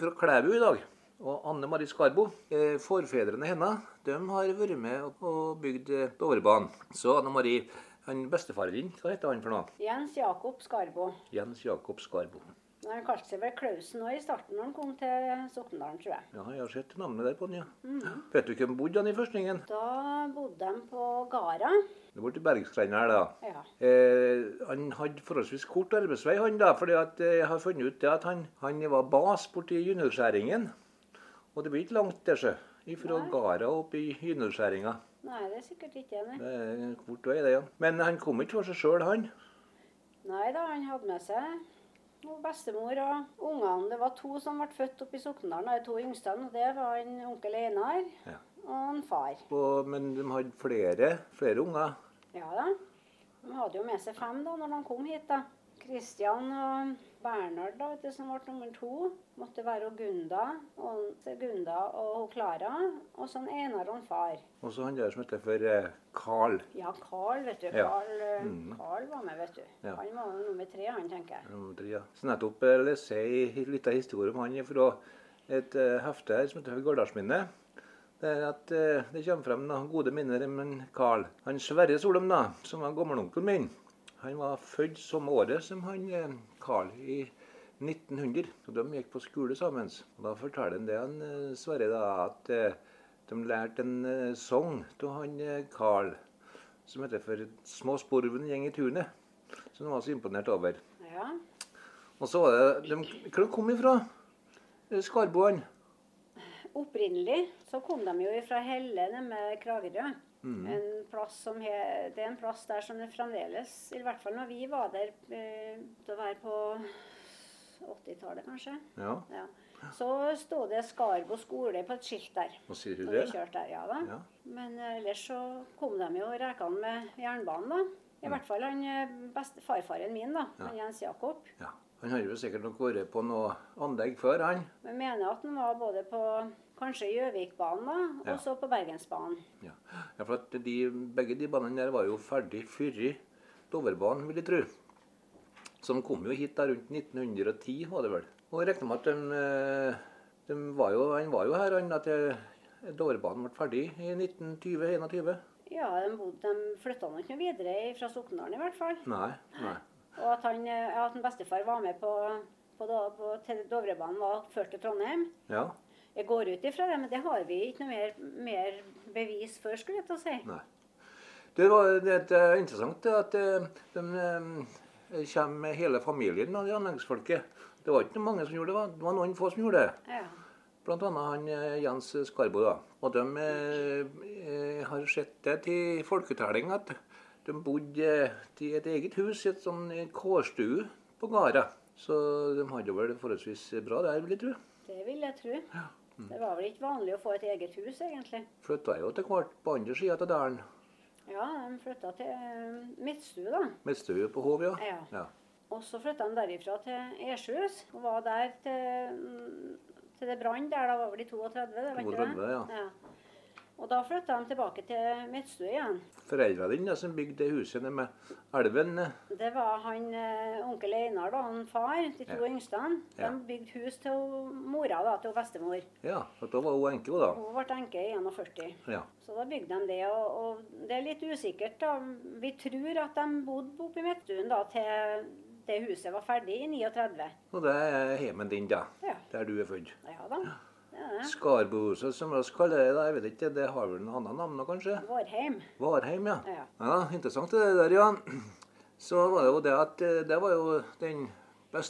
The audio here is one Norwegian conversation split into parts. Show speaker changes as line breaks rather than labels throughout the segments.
fra Klæbu i dag. Og Anne Marie Skarbo. Eh, Forfedrene hennes de har vært med og- og bygd eh, Dovrebanen. Så Anne Marie, han bestefaren din, hva heter han for noe?
Jens Jakob Skarbo.
Jens Jakob Skarbo.
Men Han kalte seg vel Klausen òg i starten når han kom til Sokndalen, tror jeg.
Ja, jeg har sett navnet der på han, ja. Vet du hvem bodde han i førstningen?
Da bodde de på Gara.
Det var til Bergskrenda her, da.
Ja.
Eh, han hadde forholdsvis kort arbeidsvei, han da, fordi at eh, jeg har funnet ut det at han, han var bas borti Juniorskjæringen. Og det blir ikke langt der, sjø. Ifra Gara opp i Juniorskjæringa.
Nei, det er sikkert ikke det. nei.
Det er en kort vei, det, ja. Men han kom ikke for seg sjøl, han.
Nei da, han hadde med seg noe bestemor og ungene. Det var to som ble født oppe i Sokndalen, de to yngste. Og det var en onkel Einar
Ja.
og en far.
Og, men de hadde flere, flere unger.
Ja da. De hadde jo med seg fem da når de kom hit. da. Kristian og Bernhard, da, vet du, som ble nummer to, måtte være og Gunda og, så Gunda og hun Klara. Og så en Einar og en far.
Og så han der som heter for eh, Carl.
Ja, Carl, vet du.
Ja. Mm.
Carl, eh, Carl var med, vet du.
Ja.
Han var jo nummer tre, han, tenker jeg.
nummer tre, ja. Så nettopp eh, leste jeg ei lita historie om han fra et eh, hefte her som heter for Gårdalsminnet. Der at eh, det kommer frem noen gode minner om en Carl. Han Sverre Solheim, da, som var gammelonkelen min, han var født samme året som han eh, Carl i 1900. Og de gikk på skole sammen. Og da forteller han det, han eh, Sverre, da, at eh, de lærte en eh, sang av han eh, Carl som heter for 'Små sporven gjeng i tunet', som han var så imponert over.
Ja.
Og så var det de, Hvor de kom eh, de fra? Skarboene.
Opprinnelig så kom de jo fra Helle nede med Kragerø.
Mm.
En plass som he, det er en plass der som det fremdeles, i hvert fall når vi var der eh, Da var jeg på 80-tallet, kanskje.
Ja,
Ja. Så sto det Skarbo skole på et skilt der.
nå sier du
Når
det?
vi kjørte der, ja da.
Ja.
Men eh, ellers så kom de jo rekene med jernbanen, da.
Mm.
I hvert fall han eh, beste farfaren min, da. Han Jens Jakob.
Ja. Han har jo sikkert nok vært på noe anlegg før, han.
Men mener at han var både på kanskje Gjøvikbanen, da,
Ja.
og så på Bergensbanen.
Ja, ja for at de, Begge de banene der var jo ferdig før Dovrebanen, vil jeg tro. Så de kom jo hit da rundt 1910, var det vel. Og jeg regner med at de, eh, de var jo, Han var jo her, han, at eh, Dovrebanen ble ferdig i 1920-21.
Ja, de, bodde, de flytta nå ikke noe videre fra Sokndalen, i hvert fall.
Nei, nei.
Og at, han, eh, at en bestefar var med på, på, Do- på til Dovrebanen, var ført til Trondheim.
Ja,
Jeg går ut ifra det, men det har vi ikke noe mer, mer bevis for, skulle jeg til å si.
Nei. Det var det er interessant det at eh, de eh, kommer med hele familien av de anleggsfolket. Det var ikke mange som gjorde det, va? det var noen få som gjorde det.
Ja.
Blant annet han eh, Jens Skarbo. da. Og de eh, eh, har sett det til folketelling at de bodde eh, i et eget hus, i et sånn eh, kårstue på gårda. Så de hadde vel det forholdsvis bra der, vil jeg tro.
Det vil jeg tro. Det var vel ikke vanlig å få et eget hus, egentlig.
Flytta jo etter hvert på andre sida av dalen.
Ja, de flytta til eh, Midtstue, da.
Midtstue på Hov, ja.
Ja.
ja.
Og så flytta de derifra til Esjøhus. Og var der til, mm, til det brant der, da var vel i 32, det, vet
32,
du det?
ja.
ja. Og da flytta de tilbake til Midtstue igjen.
foreldra dine som bygde det huset nede med elven. eh,
Det var han eh, onkel Einar, da, han far, de to
Ja.
yngste.
Ja.
De bygde hus til hun- mora, da, til hun bestemor.
Ja, for da var hun enke, hun da.
Hun ble enke i 41.
Ja.
Så da bygde de det, og, og det er litt usikkert. da. Vi tror at de bodde oppe i Midtstuen da, til det huset var ferdig i 39.
Og det er heimen din, da.
Ja.
Der du er født.
Ja da. Det er det.
Skarbohuset, som vi kaller det, da, jeg vet ikke, det har vel noe annet navn nå, kanskje?
Vårheim.
Varheim, ja.
Ja.
Interessant det der, ja. Så var det jo det at eh, det var jo den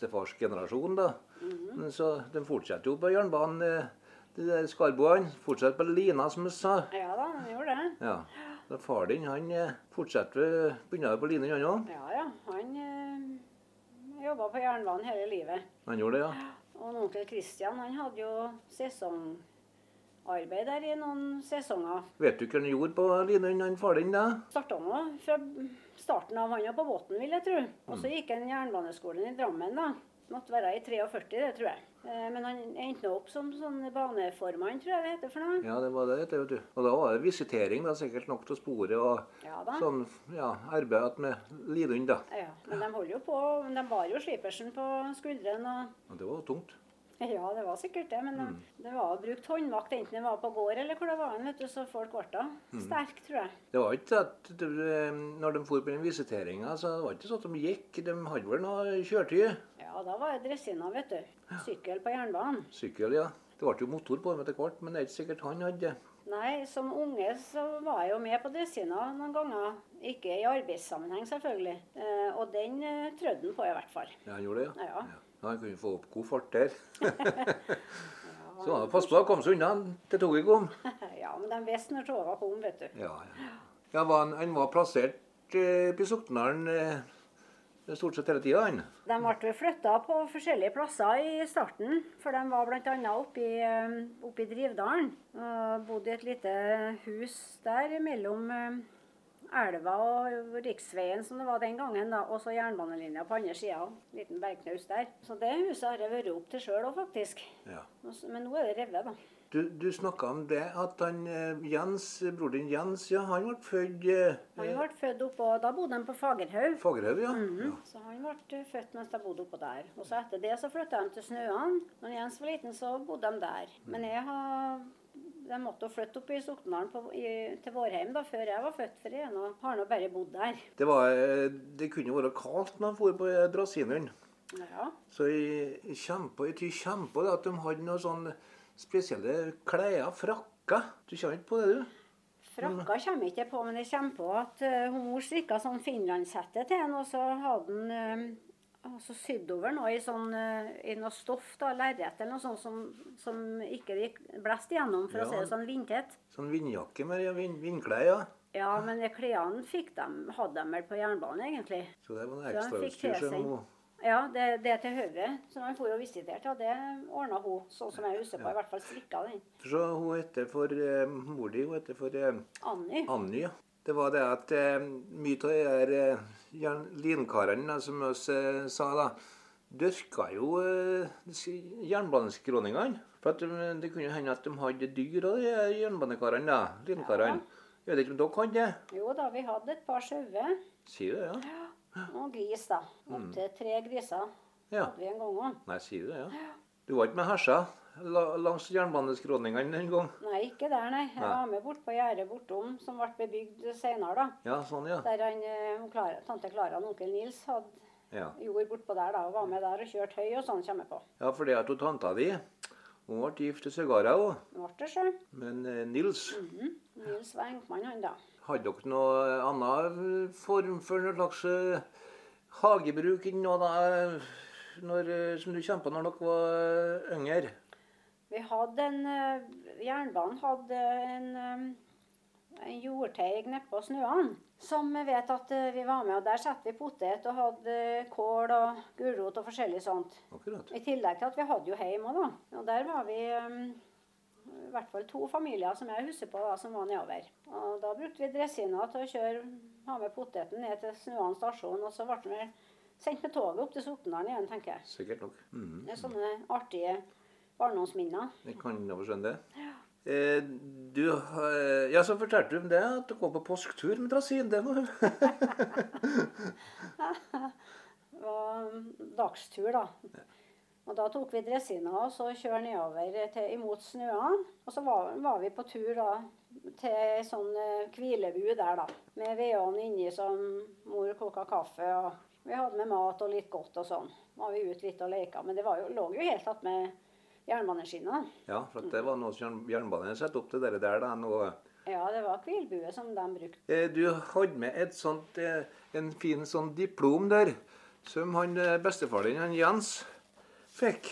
bestefarsgenerasjonen, da.
Mhm.
Men Så de fortsetter jo på jernbanen, eh, de der skarboene. Fortsetter på lina, som vi sa.
Ja da, han gjorde det.
Ja. Da far din, han eh, fortsetter, begynner jo på lina, han òg.
Ja ja. Han øh, jobba eh, på jernbanen hele livet.
Han gjorde det, ja.
Og en onkel Kristian han hadde jo sesongarbeid der i noen sesonger.
Vet du hva han gjorde på Linøy, han far din, da?
Starta nå fra starten av. Han var på båten, vil jeg tro. Og så gikk han jernbaneskolen i Drammen, da. Måtte være i 43, det tror jeg. Eh, Men han endte nå opp som sånn baneformann, tror jeg det heter for noe.
Ja, det var det, det, vet du. Og da var det visitering, da, sikkert nok til sporet og
Ja da.
sånn, ja, arbeid att med Linøy, da.
Ja, men de holder jo på. men De bar jo slipersen på skuldrene og
Og det var tungt.
Ja, det var sikkert det, men det, det var brukt håndmakt enten det var på gård eller hvor det var, hen, vet du, så folk ble da sterke, tror jeg.
Det var ikke at du, eh, når de for på den visiteringa, så det var ikke sånn at de gikk. De hadde vel noe kjøretøy.
Ja, da var jeg dressina, vet du. Sykkel på jernbanen.
Sykkel, ja. Det ble jo motor på dem etter hvert, men det er ikke sikkert han hadde det.
Nei, som unge så var jeg jo med på dressina noen ganger. Ikke i arbeidssammenheng, selvfølgelig. Eh, og den eh, trødde han på, i hvert fall.
Ja, han gjorde det, ja.
Ja.
Ja, Han kunne få opp god fart der.
Ja,
Så han pass på, han kom seg unna til toget kom.
ja, men de visste når toga kom, vet du.
Ja, ja. ja var han, han var plassert eh, oppe i Soknaren eh, stort sett hele tida, han.
De ble flytta på forskjellige plasser i starten, for de var bl.a. oppe i, eh, oppe i Drivdalen. Og bodde i et lite hus der mellom eh, elva og riksveien, som det var den gangen, da, og så jernbanelinja på andre sida. Liten bergknaus der. Så det huset har jeg vært opp til sjøl òg, faktisk.
Ja.
Og så- Men nå er det revet, da.
Du, du snakka om det at han eh, Jens, bror din Jens, ja, han ble født eh,
Han ble født oppå Da bodde han på Fagerhaug.
Fagerhaug, ja.
Mhm. Så han ble født mens jeg bodde oppå der. Og så etter det så flytta de til Snøan. Når Jens var liten, så bodde de der. Men jeg har de måtte jo flytte opp i Soknedalen på- i- til Vårheim da, før jeg var født, for jeg er nå- har nå bare bodd der.
ja. Det, var, eh, det kunne jo være kaldt når han for på eh, drasineren.
Ja,
Så jeg, jeg kommer på, jeg tror jeg kommer på det at de hadde noen sånne spesielle klær, frakker. Du kommer ikke på det, du?
Frakka kommer jeg ikke på, men jeg kommer på at eh, hun mor strikka sånn finlandshette til henne, og så hadde hun eh, altså sydd over noe i, sånn, eh, i noe stoff, da, lerret eller noe sånt, som, som ikke gikk blest igjennom, for
Ja.
å si det sånn vindtett.
Sånn vindjakke med ja, vind, vindklær, ja.
Ja, men de klærne fikk dem, hadde de vel på jernbanen, egentlig.
Så det var noe
Så han fikk
ekstrautstyr som
tilsendt.
hun
Ja, det, det er til Høve, som han for og visiterte, og det ordna hun, sånn som jeg husker på. I hvert fall strikka den.
For så hun heter for eh, mor di, hun heter for eh,
Anny.
Anny, ja. Det var det at eh, mye av de her eh, jern- linkarene, da, som oss eh, sa da, dyrka jo eh, disse jernbaneskroningene. For at de, det kunne hende at de hadde dyr av de her jernbanekarene, da. Linkarene. Jeg vet ikke om dere hadde det?
Jo da, vi hadde et par sauer
Sier du det,
og gris, da. Opptil tre griser
ja? Ja.
hadde vi en gang òg.
Nei, sier du det, ja. Du var ikke med hersa la, langs jernbaneskroningene en gang?
Nei, ikke der, nei. Jeg
Nei.
var med bort på gjerdet bortom, som ble bebygd senere, da.
Ja, sånn, ja.
Der han, eh, hun Klara, tante Klara og onkel Nils hadde
Ja,
jord bortpå der, da. Og var med der og kjørte høy og sånn, kommer jeg på.
ja for det at hun tanta di hun ble gift til Søgara òg.
Ble det sjøl.
Men eh, Nils,
Mhm. Nils var enkemann, han da.
hadde dere noe annen form for noe slags eh, hagebruk enn noe da, eh, når, eh, som du kjempa når dere var eh, yngre?
Vi hadde en eh, Jernbanen hadde en, eh, en jordteig nede på Snøan som jeg vet at eh, vi var med. og Der satte vi potet og hadde kål og gulrot og forskjellig sånt.
Akkurat.
I tillegg til at vi hadde jo heim òg, da. Og der var vi eh, i hvert fall to familier som jeg husker på da, som var nedover. Og da brukte vi dressina til å kjøre, ha med poteten ned til Snøan stasjon. Og så ble vi sendt med toget opp til Sortendalen igjen, tenker jeg.
Sikkert nok. Mhm.
Det er sånne artige barndomsminner.
Jeg kan jo skjønne det. Eh, du, har- ja, så fortalte du om det, at du går på påsketur med Drasin. Det var
var dagstur, da. Og da tok vi dressina og så kjørte nedover til, imot Snøan. Og så var, var vi på tur da til ei sånn eh, hvilebu der, da. Med vedovn inni som mor koka kaffe. og Vi hadde med mat og litt godt og sånn. Var vi ute litt og leika. Men det var jo, lå jo helt attmed jernbaneskinna.
Ja, for at det var noe som jernbanen satte opp til dere der. da. Nå,
Ja, det var hvilbue som de brukte.
eh, du hadde med et sånt, eh, en fin sånn diplom der, som han eh, bestefaren din, han Jens, fikk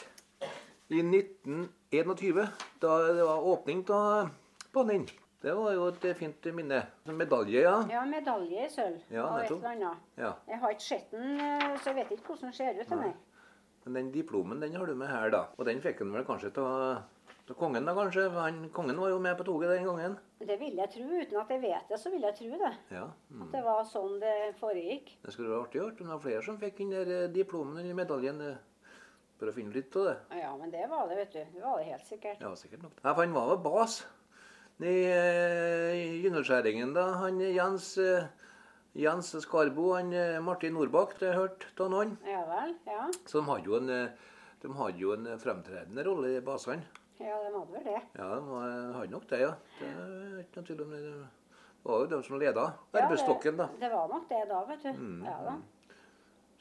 i 1921, da det var åpning av banen. Det var jo et fint minne. En Medalje, ja.
Ja, medalje i sølv
Ja,
og et
nettopp.
eller annet.
ja.
Jeg har ikke sett den, eh, så jeg vet ikke hvordan den ser ut. Nei.
Men den diplomen den har du med her, da. Og den fikk han vel kanskje av kongen, da kanskje? For Han, kongen var jo med på toget den gangen.
Det vil jeg tro. Uten at jeg vet det, så vil jeg tro det.
Ja. Mm.
At det var sånn det foregikk.
Det skulle vært artig å høre om det var flere som fikk den der eh, diplomen eller medaljen. eh, For å finne litt av det.
Ja, men det var det, vet du. Det var det helt sikkert.
Ja, sikkert nok. Nei, for han var vel bas i eh, i Gynnelskjæringen da. Han eh, Jens, eh, Jens Skarbo, han eh, Martin Nordbakk, det har jeg hørt av noen.
Ja vel. Ja,
Så de hadde jo en, eh, de hadde jo en eh, fremtredende rolle i basene.
ja de hadde vel det.
Ja, de var- eh, hadde nok det, ja. Det er ikke noe tvil om det. Det var jo de som leda
Ja, det-
arbeidsstokken, da. Mm.
Det var nok det da, vet du. Ja da.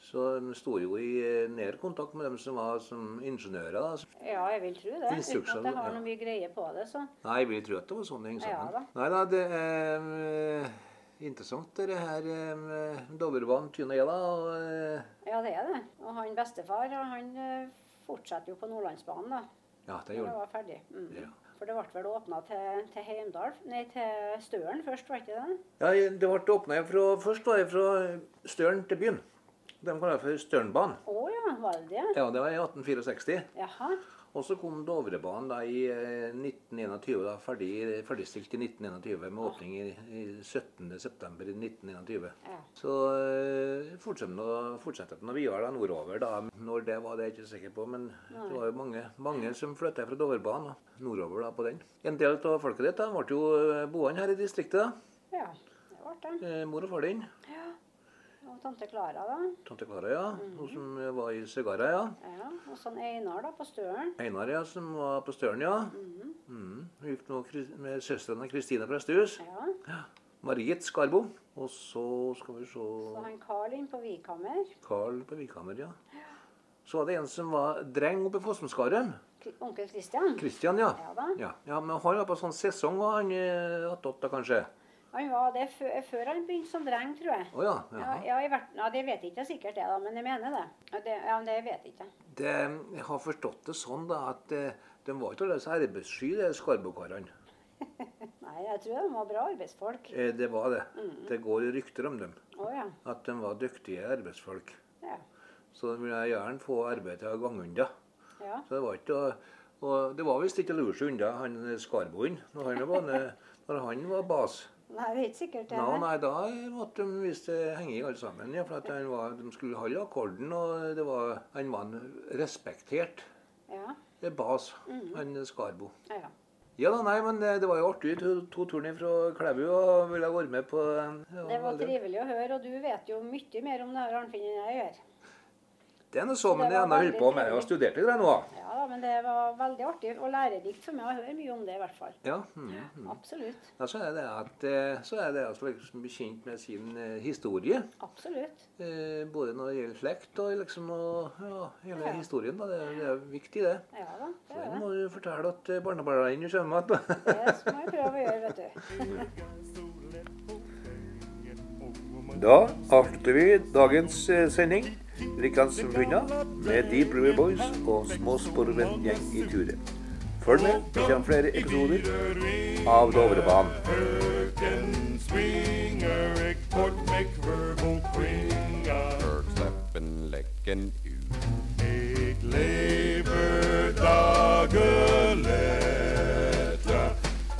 Så de sto jo i eh, nær kontakt med dem som var som ingeniører. da.
Ja, jeg vil tro det. Uten at
Instruksjoner,
jeg har
ja.
noe mye greie på det, så.
Nei, jeg vil tro at det var sånn det hang
Ja da.
sammen. Nei da, det er eh, interessant det her eh, med Dovrebanen, Tyne Ela. Og, eh,
Ja, det er det. Og han bestefar, ja, han eh, fortsetter jo på Nordlandsbanen, da.
ja, det
Når det
gjorde
var ferdig. Mm.
Ja.
For det ble vel åpna til, til Heimdal Nei, til Støren først, var ikke det?
Ja, det ble åpna fra, først var det fra Støren til byen. De kaller det for Størenbanen.
Å ja, var det det?
Ja, det var i 1864.
Jaha.
Og så kom Dovrebanen da i eh, 1921, da, ferdig, ferdigstilt i 1921 med åpning i, i 17.9.1921.
Ja.
Så eh, fortsatte den å- fortsatte den å videre da, nordover. da. Når det var, det er jeg ikke sikker på, men det var jo mange, mange som flytta fra Dovrebanen og nordover da, på den. En del av folket ditt da, ble jo eh, boende her i distriktet. da.
ja. Det ble det.
Eh, Mor og far din.
Ja. Og tante Klara, da.
Tante Klara, ja. Hun som eh, var i Sigara, ja.
Ja. Og sånn Einar, da, på Støren.
Einar, ja, som var på Støren, ja.
Mm-hmm.
Mhm. Hun gikk nå Kris- med søstrene Kristine Prestehus.
Ja.
Ja. Margit Skarbo. Og så skal vi
Så
se
han Karl inn på Vikhammer.
Karl på Vikhammer, ja. Så var det en som var dreng oppe i Fossumskaret.
Kri- Onkel Kristian.
Kristian, ja.
Ja da.
ja. Ja, Men han var på sånn sesong, og han eh, attåt da, kanskje?
Han var det før, før han begynte som dreng, tror jeg.
Å ja.
Ja,
jaha.
ja, i hvert, ja, det vet jeg ikke sikkert det, da, men jeg mener det. Ja, det, ja, men det vet jeg ikke.
Det, jeg har forstått det sånn da, at eh, de var ikke alle så arbeidssky, de Skarbo-karene.
Nei, jeg tror de var bra arbeidsfolk.
Eh, Det var det.
Mm.
Det går rykter om dem.
Å ja.
At de var dyktige arbeidsfolk.
ja.
Så de ville gjerne få arbeid til å gange unna.
Ja.
Så det var ikke å, og det var visst ikke å lure seg unna han Skarboen når han var, når han var bas.
Nei, det er ikke sikkert det.
Nå, nei, da måtte de visst eh, henge i alle sammen. Ja, for at han var, de skulle holde akkorden, og det var, han var en respektert
Ja.
eh, bas,
Mm.
han Skarbo.
ja.
Ja da, nei, men eh, det, det var jo artig. To, to turen fra Klæbu og ville vært med på eh, ja,
Det var
veldig-
trivelig å høre, og du vet jo mye mer om det her, Arnfinn, enn jeg gjør.
Det er noe så, men
Det
jeg
var
ennå holder
veldig
på med. Jeg har
trivelig.
studert litt der nå.
Ja da, men det var veldig artig og lærerikt for meg å høre mye om det, i hvert fall.
Ja, mhm.
Absolutt.
Ja, så er det at eh, så er det altså liksom bli kjent med sin eh, historie.
Absolutt.
Eh, både når det gjelder slekt og liksom og, ja, hele
Ja.
historien. da, Det, er- det er viktig, det.
Ja
Så
da,
den
det er det.
må du fortelle at eh, barnebarna dine kommer igjen. da.
Det må jeg prøve å gjøre, vet du.
Da avslutter vi dagens eh, sending. Riklandsbunna med Deep River Boys og Små sporvenn-gjeng i Ture. Følg med, det kommer flere episoder av Dovrebanen.
Høken swinger, ik word meg verbal kringa.
Bergsleppen, Lekken, U.
Ik lever dagelette,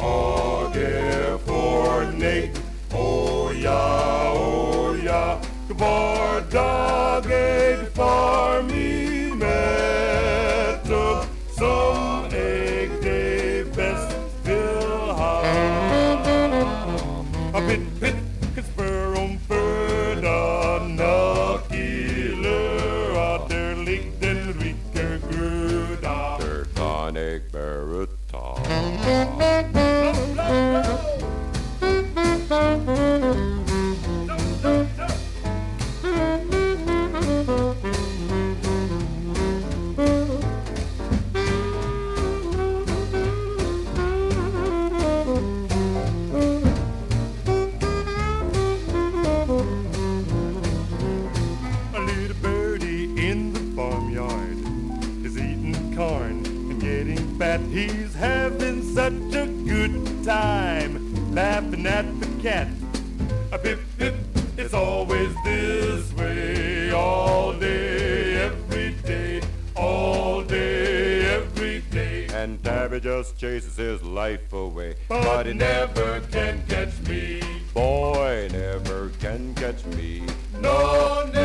age forneit. O ja, o ja, kvar dag eit far mi mette, som eg det best vil ha. A bit bit spør om føda nok i løa Der ligger den rike gruda
Tonic, Baruta.
A little birdie in the farmyard is eating corn and getting fat. He's having such a good time laughing at the cat. A bip bip, it's always this way all day, every day. and Tabby just chases his life away. But he never can catch me. Boy, never can catch me.
No, never.